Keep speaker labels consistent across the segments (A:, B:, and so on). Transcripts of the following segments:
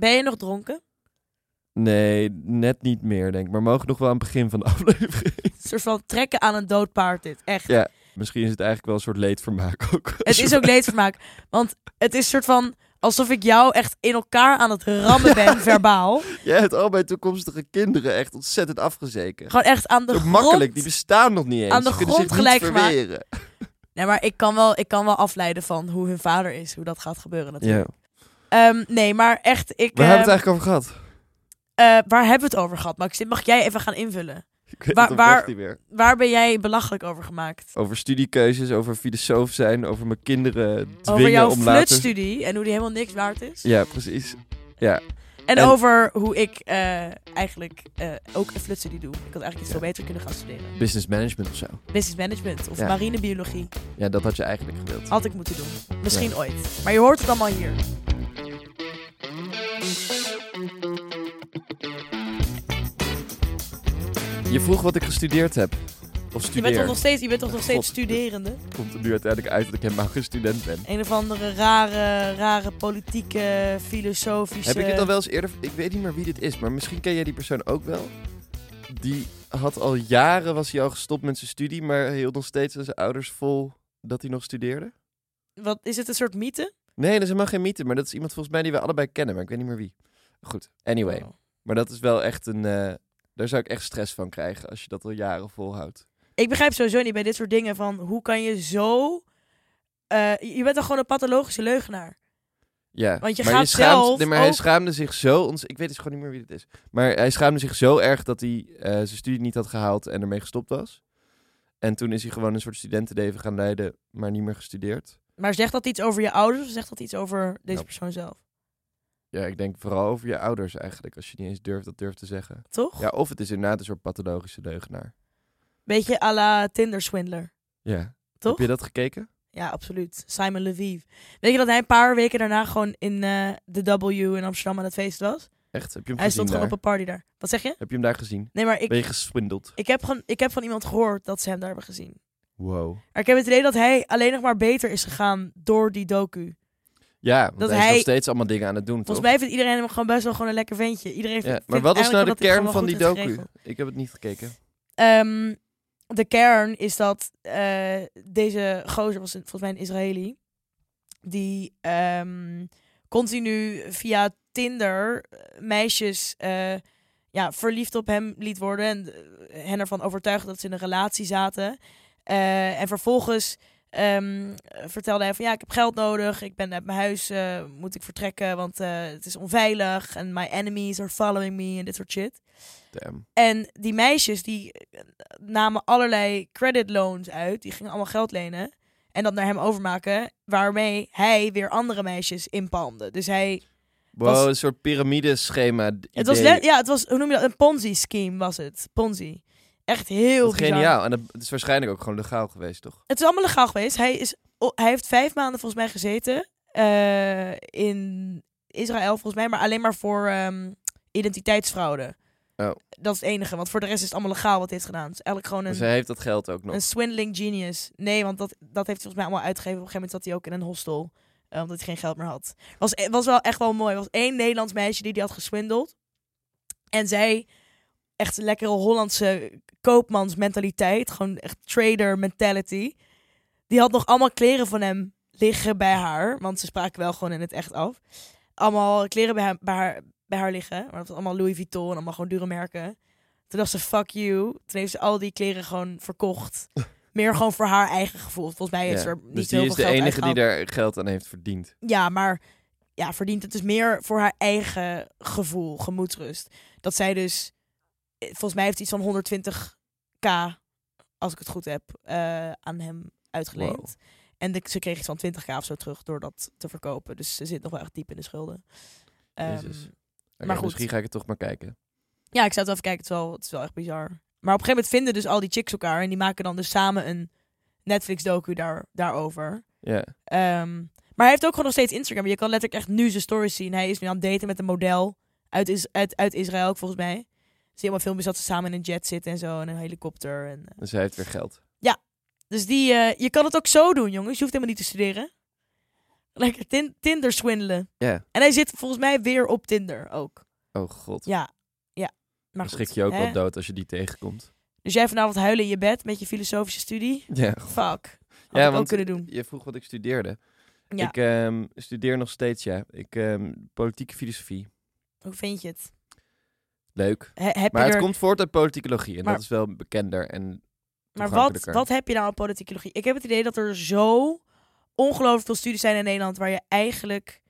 A: Ben je nog dronken?
B: Nee, net niet meer, denk ik. Maar we mogen nog wel aan het begin van de aflevering.
A: Een soort van trekken aan een dood paard dit, echt.
B: Ja. Misschien is het eigenlijk wel een soort leedvermaak ook.
A: Het is ook leedvermaak, want het is soort van alsof ik jou echt in elkaar aan het rammen ben, verbaal.
B: Jij hebt al mijn toekomstige kinderen echt ontzettend afgezeken.
A: Gewoon echt aan de
B: Zo
A: grond.
B: makkelijk, die bestaan nog niet eens.
A: aan de
B: Ze kunnen zich
A: grond gelijk
B: niet
A: gemaakt.
B: verweren.
A: Nee, maar ik kan, wel, ik kan wel afleiden van hoe hun vader is, hoe dat gaat gebeuren natuurlijk.
B: Ja.
A: Ehm, nee, maar echt, ik...
B: Waar hebben we het
A: ehm,
B: eigenlijk over gehad?
A: eh, waar hebben we het over gehad, Max? Dit mag jij even gaan invullen.
B: Ik weet
A: waar-
B: het oprecht
A: waar-
B: niet meer.
A: Waar ben jij belachelijk over gemaakt?
B: Over studiekeuzes, over filosoof zijn, over mijn kinderen dwingen
A: Over jouw
B: om later...
A: flutstudie en hoe die helemaal niks waard is.
B: Ja, precies.
A: En,
B: En-
A: over hoe ik eh, eigenlijk eh, ook een flutstudie doe. Ik had eigenlijk iets
B: Ja.
A: veel beter kunnen gaan studeren.
B: Business management of zo.
A: Business management of
B: Ja.
A: marinebiologie.
B: Ja, dat had je eigenlijk gewild.
A: Had ik moeten doen. Misschien ooit. Maar je hoort het allemaal hier.
B: Je vroeg wat ik gestudeerd heb. Of
A: Je bent, toch
B: studeer.
A: nog steeds, je bent toch nog steeds
B: God.
A: studerende?
B: Komt er nu uiteindelijk uit dat ik helemaal geen student ben.
A: Een of andere rare, rare politieke, filosofische...
B: Heb ik dit al wel eens eerder... Ik weet niet meer wie dit is, maar misschien ken jij die persoon ook wel. Die had al jaren, was hij al gestopt met zijn studie, maar hield nog steeds aan zijn ouders vol dat hij nog studeerde.
A: Wat, is het een soort mythe?
B: Nee, dat is helemaal geen mythe, maar dat is iemand volgens mij die we allebei kennen, maar ik weet niet meer wie. Goed, anyway.
A: Oh.
B: Maar dat is wel echt een... eh, daar zou ik echt stress van krijgen als je dat al jaren volhoudt.
A: Ik begrijp sowieso niet bij dit soort dingen van hoe kan je zo... eh, je bent dan gewoon een pathologische leugenaar.
B: Ja,
A: Want je
B: maar
A: gaat
B: schaamt,
A: zelf
B: nee, maar hij
A: ook-
B: schaamde zich zo... Ons, ik weet dus gewoon niet meer wie dit is. Maar hij schaamde zich zo erg dat hij eh, zijn studie niet had gehaald en ermee gestopt was. En toen is hij gewoon een soort studentenleven gaan leiden, maar niet meer gestudeerd.
A: Maar zegt dat iets over je ouders of zegt dat iets over deze
B: Ja.
A: persoon zelf?
B: Ja, ik denk vooral over je ouders eigenlijk, als je niet eens durft dat durft te zeggen.
A: Toch?
B: Ja, of het is inderdaad een soort pathologische leugenaar.
A: Beetje à la Tinder-swindler,
B: Ja.
A: toch?
B: Heb je dat gekeken?
A: Ja, absoluut. Simon Leviev. Weet je dat hij een paar weken daarna gewoon in eh, de W in Amsterdam aan het feest was?
B: Echt? Heb je
A: Hij
B: hem gezien
A: stond gewoon
B: daar?
A: op een party daar. Wat zeg je?
B: Heb je hem daar gezien?
A: Nee, maar
B: Ben
A: ik,
B: je geswindeld?
A: ik, heb gewoon, ik heb van iemand gehoord dat ze hem daar hebben gezien.
B: Wow.
A: Maar ik heb het idee dat hij alleen nog maar beter is gegaan door die docu.
B: Ja, want
A: Dat
B: hij is
A: hij-
B: nog steeds allemaal dingen aan het doen, toch?
A: Volgens mij vindt iedereen hem gewoon best wel gewoon een lekker ventje. Iedereen
B: Ja,
A: vindt
B: maar wat is nou
A: eigenlijk
B: de
A: wel dat hij
B: kern
A: het gewoon
B: van die
A: wel goed
B: docu?
A: heeft geregeld.
B: Ik heb het niet gekeken.
A: Ehm, de kern is dat eh, deze gozer was een- volgens mij een Israëli. Die ehm, continu via Tinder meisjes eh, ja, verliefd op hem liet worden. En eh, hen ervan overtuigde dat ze in een relatie zaten. Eh, en vervolgens ehm, vertelde hij van ja, ik heb geld nodig. Ik ben uit mijn huis, eh, moet ik vertrekken, want eh, het is onveilig. En my enemies are following me en dit soort shit.
B: Damn.
A: En die meisjes die eh, namen allerlei credit loans uit. Die gingen allemaal geld lenen. En dat naar hem overmaken. Waarmee hij weer andere meisjes inpalmde. Dus hij.
B: Wow,
A: was-
B: een soort piramideschema. d-
A: Het was,
B: idee.
A: le- ja, het was. Hoe noem je dat? Een Ponzi-scheme was het. Ponzi. Echt heel
B: Wat
A: bizar.
B: geniaal. En dat, het is waarschijnlijk ook gewoon legaal geweest, toch?
A: Het is allemaal legaal geweest. Hij, is, o- hij heeft vijf maanden volgens mij gezeten. eh, in Israël volgens mij. Maar alleen maar voor ehm, identiteitsfraude.
B: Oh.
A: Dat is het enige. Want voor de rest is het allemaal legaal wat hij heeft gedaan. Het is eigenlijk gewoon een.
B: Dus hij heeft dat geld ook nog.
A: Een swindling genius. Nee, want dat, dat heeft hij volgens mij allemaal uitgegeven. Op een gegeven moment zat hij ook in een hostel. eh, omdat hij geen geld meer had. Was, eh, was wel echt wel mooi. Er was één Nederlands meisje die die had geswindeld. En zij, echt een lekkere Hollandse koopmansmentaliteit. Gewoon echt trader mentality. Die had nog allemaal kleren van hem liggen bij haar. Want ze spraken wel gewoon in het echt af. Allemaal kleren bij haar, bij haar, bij haar liggen. Maar dat was allemaal Louis Vuitton en allemaal gewoon dure merken. Toen dacht ze, fuck you. Toen heeft ze al die kleren gewoon verkocht. Meer gewoon voor haar eigen gevoel. Volgens mij is
B: Ja.
A: er niet
B: dus
A: heel
B: die
A: veel
B: is de
A: geld
B: enige
A: uitgehaald.
B: die daar geld aan heeft verdiend.
A: Ja, maar ja, verdient het dus meer voor haar eigen gevoel, gemoedsrust. Dat zij dus, eh, volgens mij heeft ze iets van 120k, als ik het goed heb, eh, aan hem uitgeleend.
B: Wow.
A: En de- ze kreeg iets van 20k of zo terug door dat te verkopen. Dus ze zit nog wel echt diep in de schulden. Ehm,
B: Jezus. Oké,
A: maar goed.
B: Misschien ga ik het toch maar kijken.
A: ja, ik zou het wel even kijken. Het is wel, het is wel echt bizar. Maar op een gegeven moment vinden dus al die chicks elkaar. En die maken dan dus samen een Netflix-docu daar, daarover.
B: Ja.
A: Ehm, maar hij heeft ook gewoon nog steeds Instagram. Je kan letterlijk echt nu zijn stories zien. Hij is nu aan het daten met een model uit, Is- uit, uit Israël, ook volgens mij. Zie je allemaal filmpjes dat ze samen in een jet zitten en zo. En een helikopter. En, eh.
B: Dus hij heeft weer geld.
A: Dus die, eh, je kan het ook zo doen, jongens. Je hoeft helemaal niet te studeren. Lekker tin- Tinder swindelen.
B: Ja.
A: En hij zit volgens mij weer op Tinder ook.
B: Oh god.
A: Ja, ja. Maar
B: Dan schrik
A: goed,
B: je ook
A: hè?
B: wel dood als je die tegenkomt.
A: Dus jij vanavond huilen in je bed met je filosofische studie?
B: Ja.
A: Fuck. Had
B: Ja,
A: ik ook
B: want-
A: kunnen doen.
B: Je vroeg wat ik studeerde.
A: Ja.
B: Ik ehm, studeer nog steeds, ja. Ik ehm, politieke filosofie.
A: Hoe vind je het?
B: Leuk.
A: He- heb
B: Maar
A: je
B: het
A: er...
B: komt voort uit politicologie. En
A: Maar-
B: dat is wel bekender. En
A: maar wat,
B: toegankelijker.
A: wat heb je nou aan politicologie? Ik heb het idee dat er zo ongelooflijk veel studies zijn in Nederland... waar je eigenlijk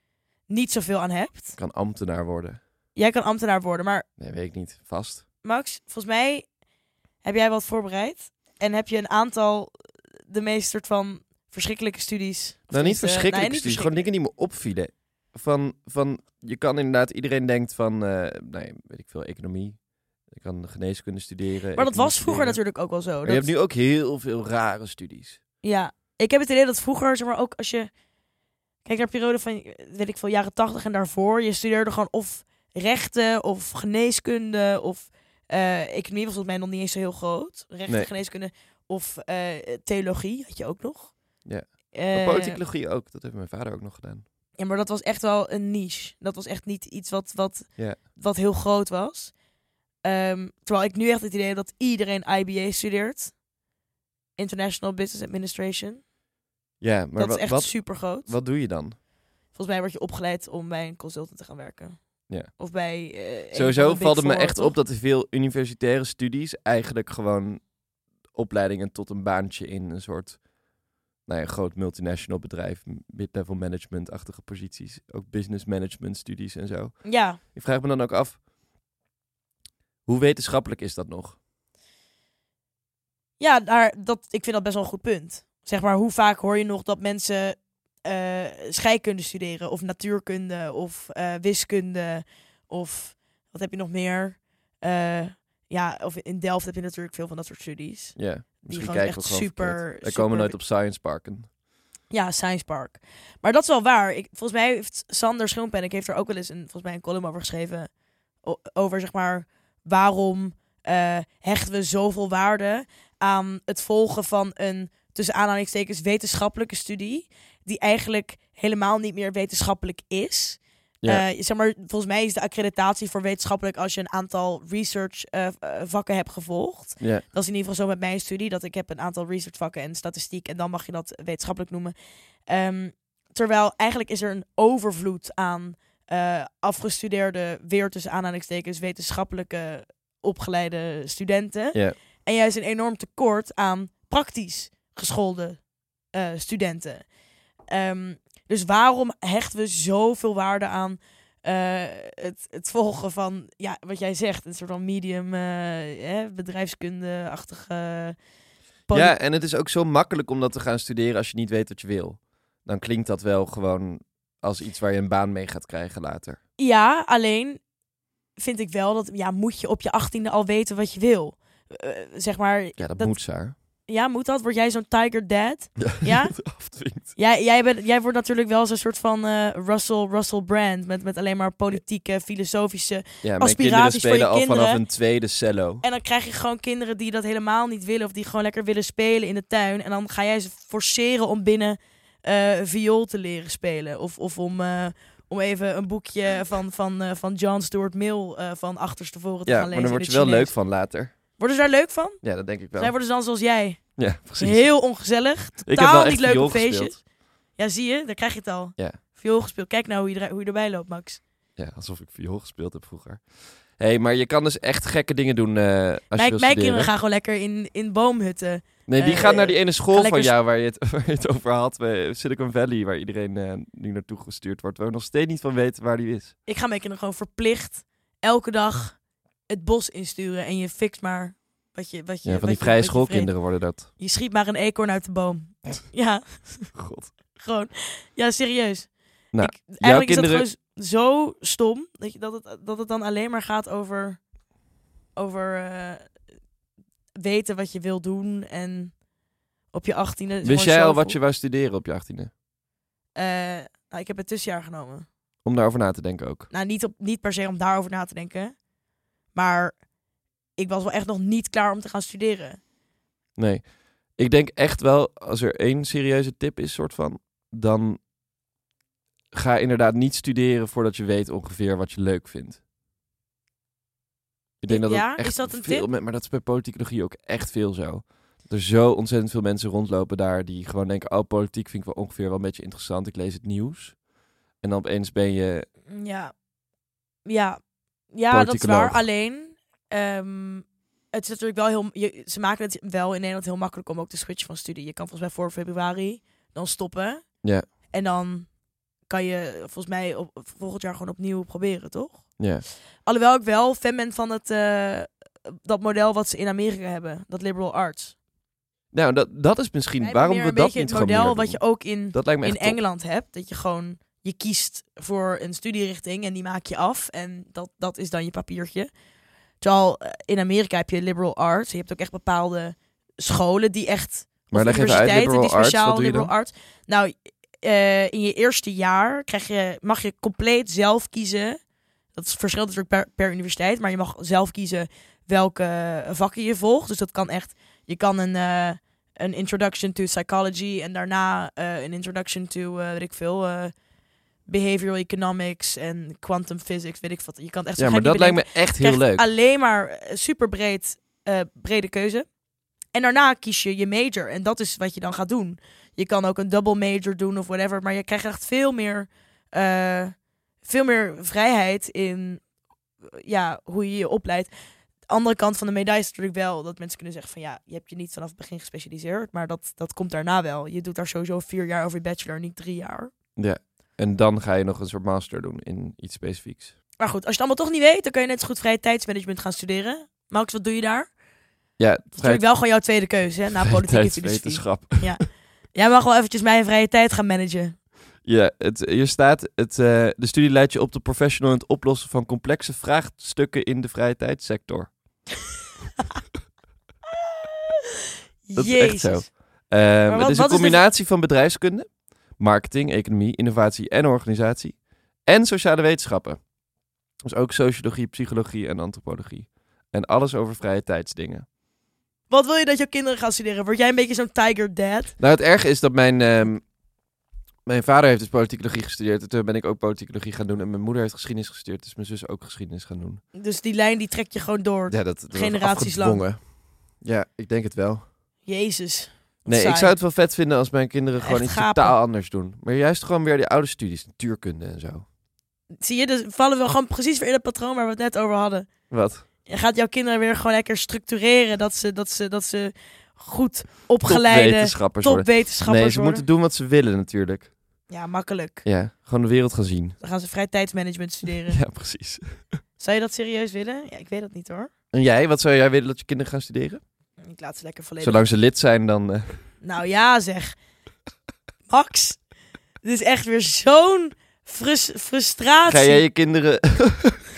A: niet zoveel aan hebt.
B: kan ambtenaar worden.
A: Jij kan ambtenaar worden, maar
B: Nee, weet ik niet. Vast. Nou,
A: Max, volgens mij heb jij wat voorbereid. En heb je een aantal, eh, de meest soort van verschrikkelijke studies. Of
B: Nou, niet
A: tenminste,
B: verschrikkelijk
A: nee, niet
B: studies. Gewoon dingen die me opvielen. Van, van, je kan inderdaad, iedereen denkt van, eh, nee, weet ik veel, economie. Je kan geneeskunde studeren.
A: Maar dat
B: economie
A: was vroeger
B: studeren.
A: natuurlijk ook wel zo.
B: Maar
A: Dat-
B: je hebt nu ook heel veel rare studies.
A: Ja, ik heb het idee dat vroeger, zeg maar ook als je... Kijk naar periode van, weet ik veel, jaren tachtig en daarvoor. Je studeerde gewoon of rechten of geneeskunde of... eh, economie was volgens mij nog niet eens zo heel groot. Rechten,
B: Nee.
A: geneeskunde of eh, theologie had je ook nog.
B: Ja.
A: Eh,
B: Maar politicologie ook, dat heeft mijn vader ook nog gedaan.
A: Ja, maar dat was echt wel een niche. Dat was echt niet iets wat, wat,
B: Ja.
A: wat heel groot was. Ehm, terwijl ik nu echt het idee heb dat iedereen IBA studeert. International Business Administration.
B: Ja, maar
A: dat
B: wat,
A: is echt
B: wat,
A: super groot.
B: wat doe je dan?
A: Volgens mij word je opgeleid om bij een consultant te gaan werken.
B: Ja.
A: Of bij... eh, een van
B: Sowieso
A: de Big
B: valt het me
A: Four,
B: echt
A: toch?
B: op dat er veel universitaire studies eigenlijk gewoon opleidingen tot een baantje in een soort nou ja, een groot multinational bedrijf, m- mid-level management-achtige posities, ook business management studies en zo.
A: Ja,
B: Ik vraag me dan ook af, hoe wetenschappelijk is dat nog?
A: ja daar, dat, ik vind dat best wel een goed punt. Zeg maar, hoe vaak hoor je nog dat mensen eh, scheikunde studeren? Of natuurkunde, of eh, wiskunde, of wat heb je nog meer? Eh, ja, of in Delft heb je natuurlijk veel van dat soort studies.
B: Ja,
A: gewoon
B: misschien kijken we
A: echt
B: gewoon
A: super-
B: verkeerd. Wij
A: super-
B: komen nooit op science parken.
A: Ja, Science Park. Maar dat is wel waar. Ik, volgens mij heeft Sander Schoenpennik heeft er ook wel eens een, volgens mij een column over geschreven. o- over zeg maar waarom eh, hechten we zoveel waarde aan het volgen van een tussen aanhalingstekens wetenschappelijke studie. Die eigenlijk helemaal niet meer wetenschappelijk is.
B: Ja.
A: Eh, zeg maar, volgens mij is de accreditatie voor wetenschappelijk als je een aantal research eh, eh, vakken hebt gevolgd.
B: Ja,
A: Dat is in ieder geval zo met mijn studie. Dat ik heb een aantal researchvakken en statistiek. En dan mag je dat wetenschappelijk noemen. Ehm, terwijl eigenlijk is er een overvloed aan eh, afgestudeerde, weer tussen aanhalingstekens, wetenschappelijke opgeleide studenten.
B: Ja.
A: En juist een enorm tekort aan praktisch geschoolde eh, studenten. Ehm, dus waarom hechten we zoveel waarde aan eh, het, het volgen van, ja, wat jij zegt, een soort van medium, eh, eh, bedrijfskunde-achtige... poly-
B: ja, en het is ook zo makkelijk om dat te gaan studeren als je niet weet wat je wil. Dan klinkt dat wel gewoon als iets waar je een baan mee gaat krijgen later.
A: Ja, alleen vind ik wel dat, ja, moet je op je achttiende al weten wat je wil. Eh, zeg maar,
B: Ja, dat,
A: Dat-
B: moet, Saar.
A: ja, moet dat? Word jij zo'n Tiger Dad? Ja?
B: dat afdwingt.
A: Jij, jij, bent, jij wordt natuurlijk wel zo'n soort van eh, Russell, Russell Brand. Met, met alleen maar politieke, filosofische.
B: Ja, mijn
A: Aspiraties
B: kinderen
A: voor
B: spelen
A: je
B: al vanaf
A: kinderen.
B: een tweede cello.
A: En dan krijg je gewoon kinderen die dat helemaal niet willen. Of die gewoon lekker willen spelen in de tuin. En dan ga jij ze forceren om binnen eh, viool te leren spelen. Of, of om, eh, om even een boekje van, van, eh, van John Stuart Mill eh van achterstevoren te
B: Ja,
A: gaan
B: maar
A: lezen.
B: dan
A: in
B: word je
A: het
B: wel
A: Chinees.
B: leuk van later.
A: Worden ze daar leuk van?
B: Ja, dat denk ik wel.
A: Zij worden ze dan zoals jij.
B: Ja, precies.
A: Heel ongezellig.
B: ik
A: totaal niet
B: echt
A: leuk
B: viool
A: op feestjes.
B: gespeeld.
A: Ja, zie je? Daar krijg je het al.
B: Ja.
A: Viool gespeeld. Kijk nou hoe je, er- hoe je erbij loopt, Max.
B: Ja, alsof ik viool gespeeld heb vroeger. Hé, hey, maar je kan dus echt gekke dingen doen eh, als je
A: Mijn,
B: wil
A: mijn
B: studeren.
A: kinderen gaan gewoon lekker in, in boomhutten.
B: Nee, die
A: eh,
B: gaan naar die ene school
A: gaan
B: van
A: lekker
B: jou waar je, het, waar je het over had. Bij Silicon Valley, waar iedereen eh, nu naartoe gestuurd wordt. Waar we nog steeds niet van weten waar die is.
A: Ik ga mijn kinderen gewoon verplicht elke dag het bos insturen. En je fixt maar wat je wat je
B: Ja, van
A: wat
B: die
A: je-
B: vrije
A: wat je vreet.
B: schoolkinderen worden dat.
A: Je, schiet maar een eekhoorn uit de boom. ja,
B: God.
A: gewoon. Ja, serieus.
B: Nou,
A: Ik- eigenlijk
B: kinderen-
A: is dat gewoon zo stom dat, je, dat, het, dat het dan alleen maar gaat over, over eh, weten wat je wil doen en op je achttiende...
B: Wist jij al wat je wou studeren op je achttiende?
A: nou, ik heb het tussenjaar genomen.
B: Om daarover na te denken ook.
A: Nou, niet, op, niet per se om daarover na te denken. Maar ik was wel echt nog niet klaar om te gaan studeren.
B: Nee. Ik denk echt wel, als er één serieuze tip is, soort van, dan ga inderdaad niet studeren voordat je weet ongeveer wat je leuk vindt. Ik denk dat
A: Ja,
B: dat echt
A: is dat een
B: veel
A: tip?
B: men- maar dat is bij politicologie ook echt veel zo. Dat Er zo ontzettend veel mensen rondlopen daar die gewoon denken: oh, politiek vind ik wel ongeveer wel een beetje interessant. Ik lees het nieuws. En dan opeens ben je.
A: Ja. Ja, ja dat is waar.
B: Politicoloog.
A: Alleen, ehm, het is natuurlijk wel heel... je- ze maken het wel in Nederland heel makkelijk om ook te switchen van studie. Je kan volgens mij voor februari dan stoppen.
B: Ja.
A: En dan kan je volgens mij op, volgend jaar gewoon opnieuw proberen, toch?
B: Ja,
A: Alhoewel ik wel fan ben van het, eh, dat model wat ze in Amerika hebben. Dat liberal arts.
B: Nou, dat, dat is misschien
A: Wij hebben
B: waarom
A: meer
B: we
A: een
B: dat
A: beetje
B: niet
A: het
B: gewoon
A: model
B: meer
A: wat
B: doen.
A: je ook in
B: Dat lijkt me
A: in
B: echt top.
A: Engeland hebt. Dat je gewoon, je kiest voor een studierichting en die maak je af. En dat, dat is dan je papiertje. Terwijl eh, in Amerika heb je liberal arts. Je hebt ook echt bepaalde scholen die echt...
B: Maar
A: of
B: leg even uit,
A: universiteiten
B: liberal
A: die
B: arts,
A: speciaal
B: wat doe je
A: liberal
B: dan?
A: arts. Nou, eh, in je eerste jaar krijg je, mag je compleet zelf kiezen. Dat is- verschilt natuurlijk per, per universiteit. Maar je mag zelf kiezen welke vakken je volgt. Dus dat kan echt... Je kan een... eh, een introduction to psychology en daarna eh, een introduction to, eh weet ik veel, eh, behavioral economics en quantum physics, weet ik wat. Je kan het echt
B: Ja, maar dat lijkt me echt heel leuk.
A: Alleen maar eh, super breed, eh, brede keuze. En daarna kies je je major en dat is wat je dan gaat doen. Je kan ook een double major doen of whatever, maar je krijgt echt veel meer, eh, veel meer vrijheid in eh, ja, hoe je je opleidt andere kant van de medaille is natuurlijk wel dat mensen kunnen zeggen van ja, je hebt je niet vanaf het begin gespecialiseerd, maar dat, dat komt daarna wel. Je doet daar sowieso vier jaar over je bachelor, niet drie jaar.
B: En dan ga je nog een soort master doen in iets specifieks.
A: Maar goed, als je het allemaal toch niet weet, dan kun je net zo goed vrije tijdsmanagement gaan studeren. Max, wat doe je daar? Dat
B: Ja,
A: is natuurlijk wel gewoon jouw tweede keuze, hè, na politieke filosofie.
B: wetenschap.
A: Jij mag wel eventjes mijn vrije tijd gaan managen.
B: Ja, het, hier staat, het, eh, de studie leidt je op de professional in het oplossen van complexe vraagstukken in de vrije tijdsector. Dat is echt
A: Jezus.
B: zo. Ehm,
A: wat- wat
B: het is een
A: is de-
B: combinatie van bedrijfskunde, marketing, economie, innovatie en organisatie. En sociale wetenschappen. Dus ook sociologie, psychologie en antropologie. En alles over vrije tijdsdingen.
A: Wat wil je dat jouw kinderen gaan studeren? Word jij een beetje zo'n tiger dad?
B: Nou, het erge is dat mijn, ehm, mijn vader heeft dus politicologie gestudeerd. En toen ben ik ook politicologie gaan doen. En mijn moeder heeft geschiedenis gestudeerd. Dus mijn zus ook geschiedenis gaan doen.
A: Dus die lijn die trek je gewoon door.
B: Ja, dat, dat was
A: Generaties lang.
B: afgedwongen. Ja, ik denk het wel.
A: Jezus. Wat
B: Nee, ik
A: saai.
B: zou het wel vet vinden als mijn kinderen
A: Echt
B: gewoon iets
A: gapen.
B: totaal anders doen. Maar juist gewoon weer die oude studies, natuurkunde en zo.
A: Zie je, dus vallen we gewoon precies weer in het patroon waar we het net over hadden.
B: Wat?
A: Je gaat jouw kinderen weer gewoon lekker structureren. Dat ze, dat ze, dat ze goed opgeleide
B: Topwetenschappers worden.
A: topwetenschappers
B: Nee, ze
A: worden.
B: moeten doen wat ze willen natuurlijk.
A: Ja, makkelijk.
B: Ja, gewoon de wereld gaan zien.
A: Dan gaan ze vrij tijdsmanagement studeren.
B: Ja, precies.
A: Zou je dat serieus willen? Ja, ik weet dat niet hoor.
B: En jij, wat zou jij willen dat je kinderen gaan studeren?
A: Ik laat ze lekker volledig.
B: Zolang ze lid zijn, dan... eh,
A: Nou ja, zeg. Max, dit is echt weer zo'n frus- frustratie.
B: Ga jij je kinderen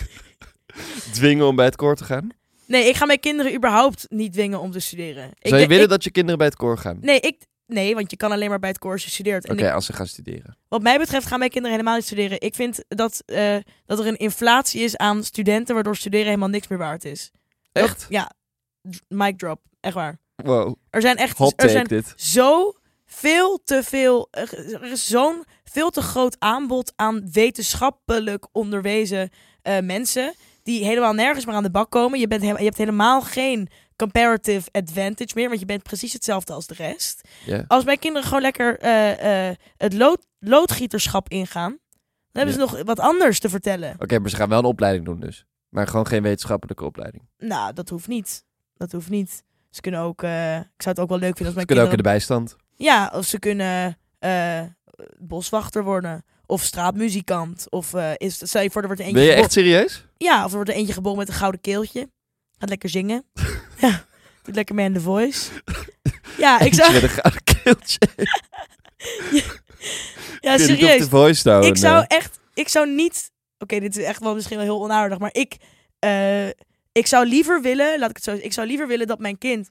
B: dwingen om bij het koor te gaan?
A: Nee, ik ga mijn kinderen überhaupt niet dwingen om te studeren. Ik
B: Zou je
A: denk-
B: willen
A: ik-
B: dat je kinderen bij het koor gaan?
A: Nee, ik... Nee, want je kan alleen maar bij het koor als je studeert. En
B: Oké,
A: ik-
B: als ze gaan studeren.
A: Wat mij betreft gaan mijn kinderen helemaal niet studeren. Ik vind dat, eh, dat er een inflatie is aan studenten, waardoor studeren helemaal niks meer waard is. Dat-
B: Echt?
A: ja, D- mic drop. Echt waar.
B: Wow,
A: Er zijn echt dus
B: hot
A: er
B: take
A: zijn
B: dit.
A: zo veel te veel. Er is zo'n veel te groot aanbod aan wetenschappelijk onderwezen eh, mensen. Die helemaal nergens meer aan de bak komen. Je, bent he- je hebt helemaal geen comparative advantage meer. Want je bent precies hetzelfde als de rest
B: Ja.
A: als mijn kinderen gewoon lekker eh, eh, het lood, loodgieterschap ingaan, dan hebben ze nog wat anders te vertellen.
B: Oké, maar ze gaan wel een opleiding doen dus. Maar gewoon geen wetenschappelijke opleiding.
A: Nou, dat hoeft niet. Dat hoeft niet. Ze kunnen ook, eh, ik zou het ook wel leuk vinden als
B: Ze
A: mijn
B: kunnen ook in
A: kinderen.
B: de bijstand.
A: Ja, of ze kunnen eh, boswachter worden. Of straatmuzikant. Of eh, is, stel je voor, er wordt er eentje
B: Ben je
A: gebo-
B: echt serieus?
A: Ja, of er wordt er eentje geboren met een gouden keeltje. Gaat lekker zingen. ja, doet lekker mee in The Voice. Ja, ik
B: Eentje
A: zou...
B: Met een gouden keeltje.
A: Ja,
B: Ik weet niet of
A: serieus.
B: de voice nou
A: ik
B: een,
A: zou
B: eh,
A: echt, ik zou niet. Oké, dit is echt wel misschien wel heel onaardig, maar ik, eh, ik zou liever willen, laat ik het zo, ik zou liever willen dat mijn kind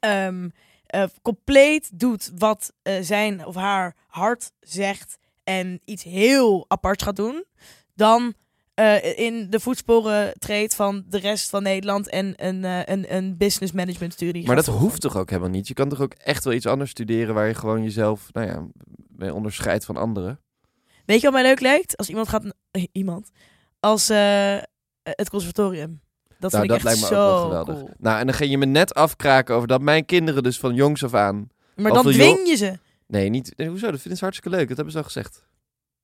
A: ehm, eh, compleet doet wat eh, zijn of haar hart zegt en iets heel aparts gaat doen, dan eh, in de voetsporen treedt van de rest van Nederland en een, eh, een, een business management studie.
B: Maar
A: gaat
B: dat
A: volgen.
B: hoeft toch ook helemaal niet? Je kan toch ook echt wel iets anders studeren waar je gewoon jezelf nou ja, mee onderscheidt van anderen?
A: Weet je wat mij leuk lijkt? Als iemand gaat... eh, Iemand. Als eh, het conservatorium. Dat vind
B: nou, dat
A: ik echt
B: lijkt me
A: zo
B: ook wel geweldig.
A: cool.
B: Nou, en dan ging je me net afkraken over dat mijn kinderen dus van jongs af aan...
A: Maar
B: Als
A: dan
B: we jong-
A: dwing je ze.
B: Nee, niet... nee, hoezo? Dat vinden ze hartstikke leuk. Dat hebben ze al gezegd.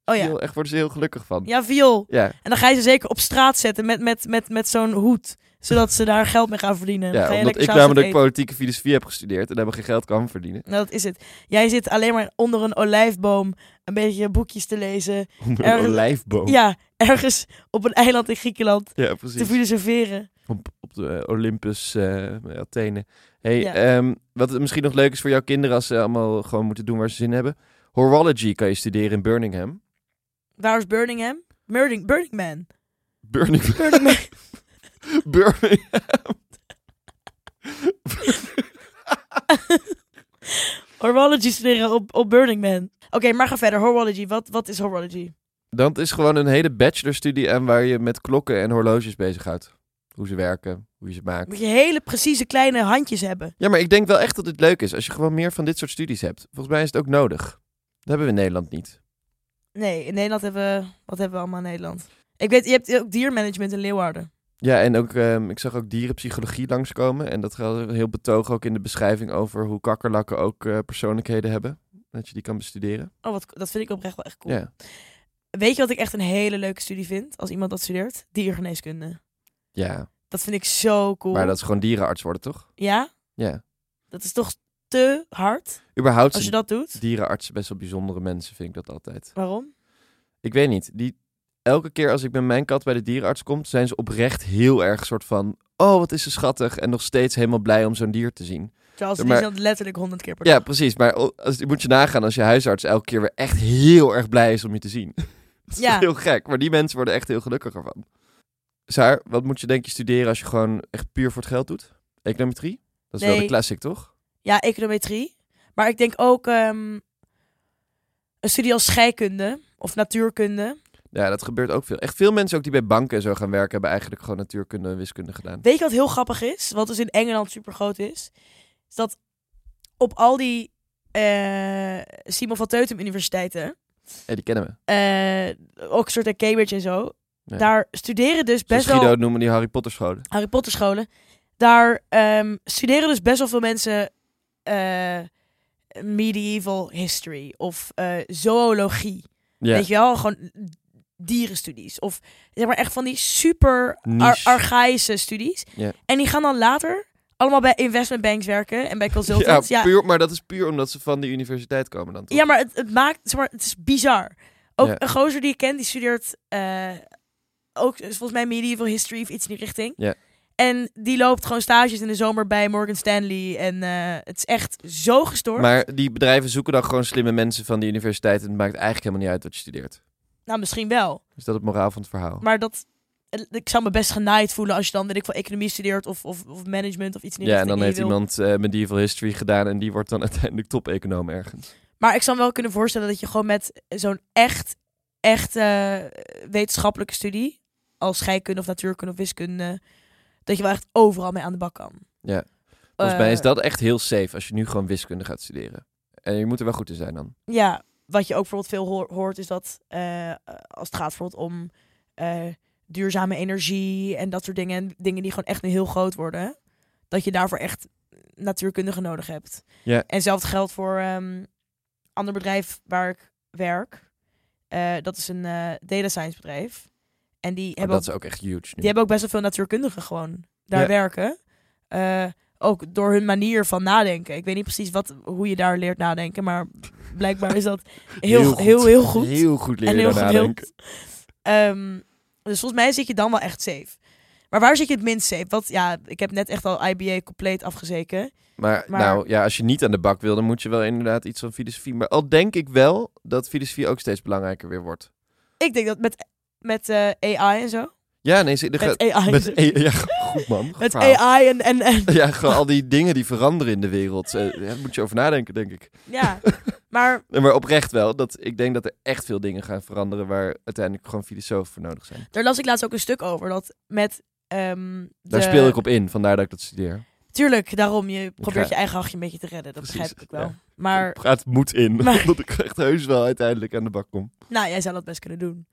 A: Oh ja.
B: Heel, echt worden ze heel gelukkig van.
A: Ja, viool.
B: Ja,
A: En dan ga je ze zeker op straat zetten met, met, met, met zo'n hoed. Zodat ze daar geld mee gaan verdienen. Dan
B: ja,
A: ga je
B: omdat
A: lekker
B: ik
A: s'avonds
B: namelijk
A: eten.
B: politieke filosofie heb gestudeerd en daar geen geld kan verdienen.
A: Nou, dat is het. Jij zit alleen maar onder een olijfboom een beetje boekjes te lezen.
B: Onder een
A: Ergens-
B: olijfboom. Ja,
A: Ja, ergens op een eiland in Griekenland te
B: Oh. precies.
A: filosoferen.
B: Op, op de eh, Olympus, eh, Athene. Hey,
A: Ja.
B: ehm, wat het misschien nog leuk is voor jouw kinderen als ze allemaal gewoon moeten doen waar ze zin in hebben. Horology kan je studeren in Birmingham.
A: Waar is Birmingham? Murding, Burning Man.
B: Birmingham.
A: Burning Man.
B: Birmingham.
A: Horology studeren op, op Burning Man. Oké, maar ga verder. Horology. Wat, wat is horology?
B: Dat is gewoon een hele bachelorstudie aan waar je met klokken en horloges bezighoudt. Hoe ze werken, hoe je ze maakt.
A: Moet je hele precieze kleine handjes hebben.
B: Ja, maar ik denk wel echt dat het leuk is als je gewoon meer van dit soort studies hebt. Volgens mij is het ook nodig. Dat hebben we in Nederland niet.
A: Nee, in Nederland hebben we... Wat hebben we allemaal in Nederland? Ik weet, je hebt ook diermanagement in Leeuwarden.
B: Ja, en ook, ehm, ik zag ook dierenpsychologie langskomen. En dat gaat heel betoog ook in de beschrijving over hoe kakkerlakken ook eh, persoonlijkheden hebben. Dat je die kan bestuderen.
A: Oh, wat, dat vind ik oprecht wel echt cool.
B: Ja.
A: Weet je wat ik echt een hele leuke studie vind? Als iemand dat studeert? Diergeneeskunde.
B: ja,
A: Dat vind ik zo cool.
B: maar dat is gewoon dierenarts worden, toch?
A: Ja?
B: Ja.
A: Dat is toch te hard
B: Überhaupt
A: als je
B: zijn
A: dat doet?
B: dierenartsen best wel bijzondere mensen, vind ik dat altijd.
A: Waarom?
B: Ik weet niet. Die, elke keer als ik met mijn kat bij de dierenarts kom, zijn ze oprecht heel erg soort van... Oh, wat is ze schattig. En nog steeds helemaal blij om zo'n dier te zien.
A: Charles
B: Ja,
A: ja,
B: maar-
A: letterlijk honderd keer per
B: Ja,
A: dag.
B: precies. Maar o- als, je moet je nagaan als je huisarts elke keer weer echt heel erg blij is om je te zien. Dat is
A: Ja.
B: toch heel gek. Maar die mensen worden echt heel gelukkiger van. Saar, wat moet je denk je studeren als je gewoon echt puur voor het geld doet? Econometrie? Dat is wel de
A: Nee.
B: classic, toch?
A: Ja, econometrie. Maar ik denk ook ehm, een studie als scheikunde of natuurkunde.
B: Ja, dat gebeurt ook veel. Echt veel mensen ook die bij banken en zo gaan werken, hebben eigenlijk gewoon natuurkunde en wiskunde gedaan.
A: Weet je wat heel grappig is? Wat dus in Engeland super groot is? Is dat op al die eh, Simon van Teutem universiteiten,
B: Ja, die kennen we.
A: eh, Oxford en Cambridge en zo,
B: Ja.
A: daar studeren dus
B: Zoals
A: best
B: Guido
A: wel
B: het noemen die Harry Potter scholen.
A: Harry Potter scholen. Daar ehm, studeren dus best wel veel mensen eh, medieval history of eh, zoologie.
B: Ja,
A: Weet je wel, gewoon dierenstudies. Of zeg maar echt van die super
B: Niche.
A: ar- archaïsche studies.
B: Ja.
A: En die gaan dan later allemaal bij investmentbanks werken en bij consultants. Ja,
B: ja,
A: ja,
B: puur, maar dat is puur omdat ze van die universiteit komen dan. toch?
A: maar het, het maakt, zeg maar, het is bizar. Ook
B: Ja.
A: een gozer die ik ken, die studeert eh, ook eh, volgens mij medieval history of iets in die richting.
B: Ja.
A: En die loopt gewoon stages in de zomer bij Morgan Stanley. En eh, het is echt zo gestoord.
B: Maar die bedrijven zoeken dan gewoon slimme mensen van die universiteit. En het maakt eigenlijk helemaal niet uit wat je studeert.
A: Nou, misschien wel.
B: Is dat het moraal van het verhaal?
A: Maar dat. eh, Ik zou me best genaaid voelen als je dan, weet ik veel, economie studeert of, of, of management of iets in die
B: ja, en
A: richting en
B: dan
A: je
B: heeft
A: wil-
B: iemand eh, medieval history gedaan en die wordt dan uiteindelijk top-econoom ergens.
A: Maar ik zou me wel kunnen voorstellen dat je gewoon met zo'n echt, echt eh, wetenschappelijke studie, als scheikunde of natuurkunde of wiskunde, dat je wel echt overal mee aan de bak kan.
B: Ja. Volgens mij
A: Eh,
B: is dat echt heel safe als je nu gewoon wiskunde gaat studeren. En je moet er wel goed in zijn dan.
A: Ja, wat je ook bijvoorbeeld veel hoor- hoort is dat eh, als het gaat bijvoorbeeld om eh, duurzame energie en dat soort dingen, en dingen die gewoon echt nu heel groot worden, dat je daarvoor echt natuurkundigen nodig hebt.
B: Ja.
A: En zelfs geldt voor ehm ander bedrijf waar ik werk. Eh, dat is een eh, data science bedrijf. En die
B: Maar
A: hebben
B: Oh, dat is ook echt huge nu.
A: die hebben ook best wel veel natuurkundigen gewoon daar
B: Ja.
A: werken. Eh, ook door hun manier van nadenken. Ik weet niet precies wat, hoe je daar leert nadenken, maar blijkbaar is dat heel, heel, heel, goed.
B: Heel goed leren
A: en heel goed, heel
B: nadenken.
A: goed. Ehm, dus volgens mij zit je dan wel echt safe. Maar waar zit je het minst safe? Wat, ja, ik heb net echt al IBA compleet afgezeken.
B: Maar,
A: Maar-
B: nou ja, als je niet aan de bak wil, dan moet je wel inderdaad iets van filosofie. Maar al denk ik wel dat filosofie ook steeds belangrijker weer wordt.
A: Ik denk dat met, met eh, AI en zo.
B: Ja, nee, ze- er gaat-
A: Met AI.
B: met
A: en zo.
B: A- ja, goed man. goed
A: Met
B: verhaal.
A: AI en, en, en
B: Ja, gewoon al die dingen die veranderen in de wereld. Eh, daar moet je over nadenken, denk ik.
A: ja. Maar
B: Nee, maar oprecht wel. Dat, ik denk dat er echt veel dingen gaan veranderen waar uiteindelijk gewoon filosofen voor nodig zijn.
A: daar las ik laatst ook een stuk over. Dat met ehm,
B: Daar
A: de-
B: speel ik op in, vandaar dat ik dat studeer.
A: Tuurlijk, daarom. Je probeert
B: ga-
A: je eigen hachje een beetje te redden. Dat
B: Precies,
A: begrijp ik wel.
B: ja.
A: Maar
B: Ik praat moed in,
A: Maar-
B: omdat ik echt heus wel uiteindelijk aan de bak kom.
A: Nou, jij zou dat best kunnen doen.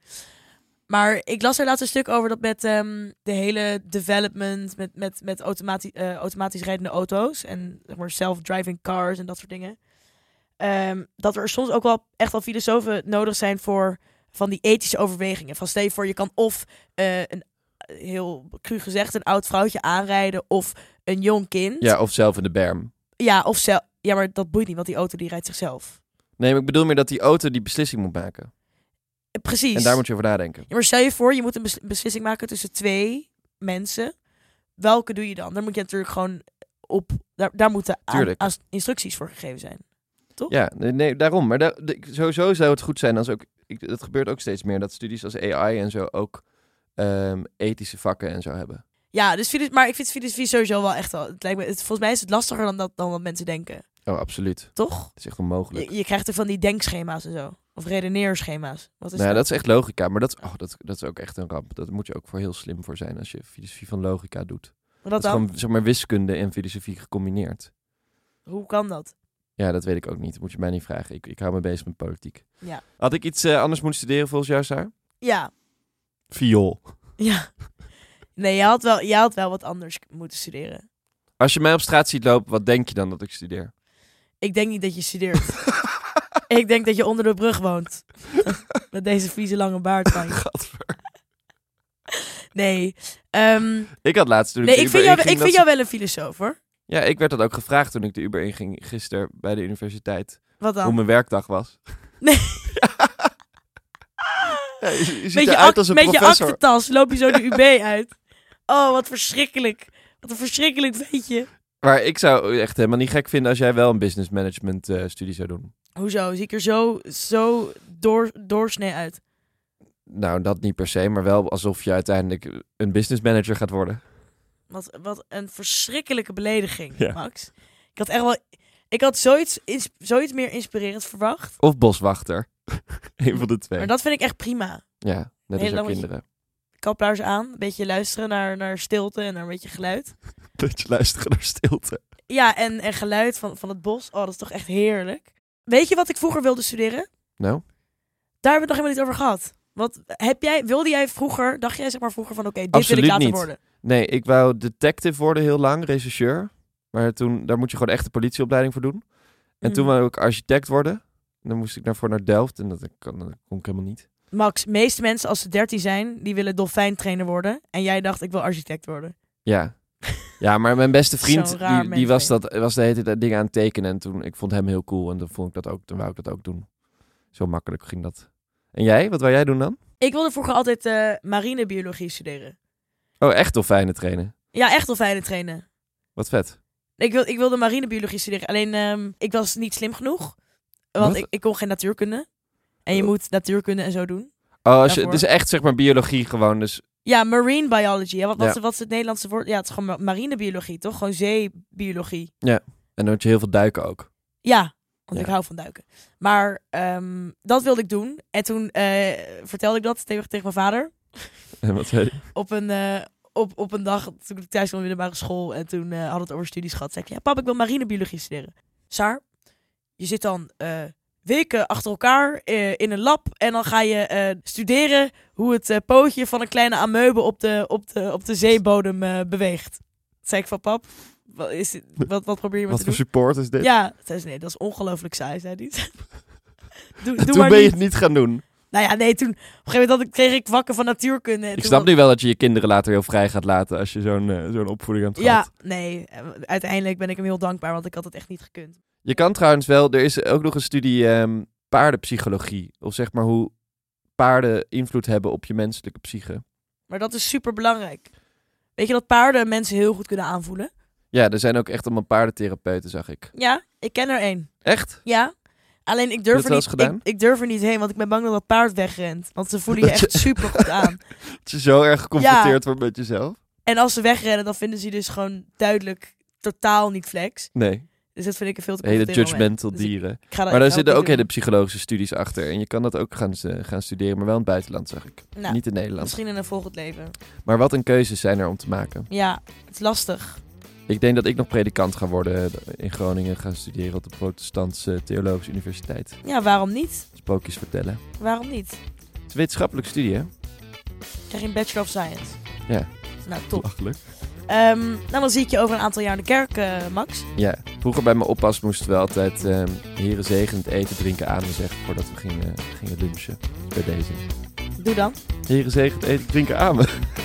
A: Maar ik las er laatst een stuk over dat met ehm, de hele development, met, met, met automati- eh, automatisch rijdende auto's en zeg maar, self-driving cars en dat soort dingen. ehm, dat er soms ook wel echt wel filosofen nodig zijn voor van die ethische overwegingen. Van stel je voor, je kan of eh, een heel cru gezegd een oud vrouwtje aanrijden of een jong kind.
B: Ja, of zelf in de berm.
A: Ja, of zelf. Ja, maar dat boeit niet, want die auto die rijdt zichzelf.
B: Nee, maar ik bedoel meer dat die auto die beslissing moet maken.
A: Eh, Precies.
B: En daar moet je over nadenken.
A: Ja, maar stel je voor, je moet een bes- beslissing maken tussen twee mensen. Welke doe je dan? Dan moet je natuurlijk gewoon op. Daar, daar moeten aan-
B: Tuurlijk.
A: aan instructies voor gegeven zijn.
B: Ja, nee, nee, daarom. Maar daar, de- ik- sowieso zou het goed zijn als ook... Ik, dat gebeurt ook steeds meer, dat studies als AI en zo ook ehm, ethische vakken en zo hebben.
A: Ja, dus filos- maar ik vind filosofie sowieso wel echt wel. Het lijkt me, het, volgens mij is het lastiger dan, dat, dan wat mensen denken.
B: Oh, absoluut.
A: Toch?
B: Het is echt onmogelijk.
A: Je, je krijgt er van die denkschema's en zo. Of redeneerschema's. Wat is
B: nou,
A: dat?
B: ja, dat is echt logica, maar dat, is- oh, dat, dat is ook echt een ramp. Daar moet je ook voor heel slim voor zijn als je filosofie van logica doet.
A: Wat
B: Dat is
A: dan?
B: gewoon zeg maar, wiskunde en filosofie gecombineerd.
A: Hoe kan dat?
B: Ja, dat weet ik ook niet. Dat moet je mij niet vragen. Ik, ik hou me bezig met politiek.
A: Ja.
B: Had ik iets eh, anders moeten studeren volgens jou, Saar?
A: Ja,
B: Viool.
A: ja. Nee, je had, wel, je had wel wat anders k- moeten studeren.
B: Als je mij op straat ziet lopen, wat denk je dan dat ik studeer?
A: Ik denk niet dat je studeert. Ik denk dat je onder de brug woont. Met deze vieze lange baard van je.
B: Gadver.
A: Nee. ehm,
B: Ik had laatst toen
A: nee,
B: de
A: ik vind,
B: Uber
A: jou, ik
B: inging
A: vind
B: dat
A: jou wel een filosoof hoor.
B: ze- Ja, ik werd dat ook gevraagd toen ik de Uber inging gisteren bij de universiteit.
A: Wat
B: Hoe
A: dan?
B: mijn werkdag was.
A: Nee.
B: Ja, je, je ziet
A: Met je,
B: eruit
A: ak-
B: als een
A: met je
B: professor.
A: aktentas loop je zo de UB uit. Oh, wat verschrikkelijk. Wat een verschrikkelijk ventje.
B: Maar ik zou echt helemaal niet gek vinden als jij wel een business management eh, studie zou doen.
A: Hoezo? Zie ik er zo, zo door, doorsnee uit?
B: Nou, dat niet per se, maar wel alsof je uiteindelijk een business manager gaat worden.
A: Wat, wat een verschrikkelijke belediging,
B: Ja.
A: Max. Ik had echt wel... Ik had zoiets, ins- zoiets meer inspirerend verwacht.
B: Of boswachter. Eén van de twee.
A: Maar dat vind ik echt prima.
B: Ja, net als
A: Heel
B: jouw
A: lang-
B: kinderen.
A: Kaplaars aan, een beetje luisteren naar, naar stilte en naar een beetje geluid.
B: Dat je luisteren naar stilte.
A: Ja, en, en geluid van, van het bos. Oh, dat is toch echt heerlijk. Weet je wat ik vroeger wilde studeren?
B: Nou,
A: Daar hebben we het nog helemaal niet over gehad. Wat heb jij, wilde jij vroeger, dacht jij zeg maar vroeger van oké, dit wil
B: Absoluut
A: ik later
B: niet.
A: worden?
B: nee, ik wou detective worden heel lang, rechercheur. Maar toen, daar moet je gewoon echt de politieopleiding voor doen. En toen
A: Mhm.
B: wou ik architect worden. En dan moest ik daarvoor naar Delft en dat kon, dat kon ik helemaal niet.
A: Max, meeste mensen als ze 13 zijn, die willen dolfijntrainer worden. En jij dacht, ik wil architect worden.
B: Ja. Ja, maar mijn beste
A: Zo'n
B: vriend,
A: raar
B: die,
A: mens,
B: die was,
A: hè?
B: dat, was de hele tijd eh, dingen aan het tekenen. En toen, ik vond hem heel cool en toen, vond ik dat ook, toen wou ik dat ook doen. Zo makkelijk ging dat. En jij? Wat wou jij doen dan?
A: Ik wilde vroeger altijd eh marinebiologie studeren.
B: Oh, echt dolfijnen trainen.
A: Ja, echt dolfijnen trainen.
B: Wat vet.
A: Ik, wil, ik wilde marinebiologie studeren. Alleen ehm, ik was niet slim genoeg. Want
B: Wat?
A: ik, ik kon geen natuurkunde. En je
B: Oh.
A: moet natuurkunde en zo doen.
B: Oh, als je,
A: Daarvoor.
B: dus echt zeg maar biologie gewoon. Dus
A: Ja, marine biology. Hè? Wat, wat,
B: Ja.
A: is- wat is het Nederlandse woord? Ja, het is gewoon ma- marinebiologie, toch? Gewoon zeebiologie.
B: En dan moet je heel veel duiken ook.
A: Ja, want
B: Ja.
A: ik hou van duiken. Maar ehm, dat wilde ik doen. En toen eh, vertelde ik dat tegen, tegen mijn vader.
B: En wat zei
A: op een, eh, op, op een dag, toen ik thuis kwam van de middelbare school en toen eh hadden we het over studies gehad, zei ik, ja pap, ik wil marinebiologie studeren. Saar, je zit dan eh, weken achter elkaar eh, in een lab en dan ga je eh, studeren hoe het eh, pootje van een kleine amoebe op de, op de, op de zeebodem eh, beweegt. Toen zei ik van pap, wat, is dit- wat, wat probeer je me
B: Wat
A: te
B: voor
A: doen?
B: support is dit?
A: Ja, zei ze, nee, dat is ongelooflijk saai, zei hij. Doe, doe
B: En toen
A: maar
B: ben je
A: niet.
B: het niet gaan doen.
A: Nou ja, nee, toen op een gegeven moment had ik- kreeg ik wakker van natuurkunde. en
B: Ik
A: toen
B: snap nu wel dat je je kinderen later heel vrij gaat laten als je zo'n eh, zo'n opvoeding aan het
A: Ja,
B: gehad.
A: nee. eh, Uiteindelijk ben ik hem heel dankbaar, want ik had het echt niet gekund.
B: Je kan trouwens wel, er is ook nog een studie ehm, paardenpsychologie. Of zeg maar hoe paarden invloed hebben op je menselijke psyche.
A: Maar dat is super belangrijk. Weet je dat paarden mensen heel goed kunnen aanvoelen?
B: Ja, er zijn ook echt allemaal paardentherapeuten, zag ik.
A: Ja, ik ken er één.
B: Echt?
A: Ja. Alleen ik
B: Heb
A: durf,
B: je
A: er
B: dat
A: niet,
B: wel eens
A: ik,
B: gedaan?
A: ik durf er niet heen, want ik ben bang dat dat paard wegrent. Want ze voelen je
B: Dat je-
A: echt super goed aan.
B: Dat je zo erg geconfronteerd wordt met jezelf?
A: En als ze wegrennen, dan vinden ze je dus gewoon duidelijk totaal niet flex.
B: Nee,
A: Dus dat vind ik een veel te
B: hele
A: confronterend moment.
B: judgmental
A: Dus ik-
B: dieren.
A: Ik ga dat-
B: Maar
A: ik ga
B: daar
A: dat
B: zitten
A: niet
B: ook
A: doen.
B: hele psychologische studies achter. En je kan dat ook gaan, eh, gaan studeren, maar wel in het buitenland, zag ik.
A: Nou,
B: Niet in Nederland.
A: Misschien in een volgend leven.
B: Maar wat een keuzes zijn er om te maken.
A: Ja, het is lastig.
B: Ik denk dat ik nog predikant ga worden eh, in Groningen. Ga studeren op de Protestantse Theologische Universiteit.
A: Ja, waarom niet?
B: Sprookjes vertellen.
A: Waarom niet?
B: Het is een wetenschappelijke studie, hè?
A: Krijg je een Bachelor of Science.
B: Ja.
A: Nou, top.
B: Lachelijk.
A: Ehm, nou, dan zie ik je over een aantal jaar in de kerk, eh, Max.
B: Ja. Vroeger bij mijn oppas moesten we altijd ehm heren zegenend eten, drinken, amen zeggen voordat we gingen, gingen lunchen. Bij deze.
A: Doe dan.
B: Heren zegenend eten, drinken, amen.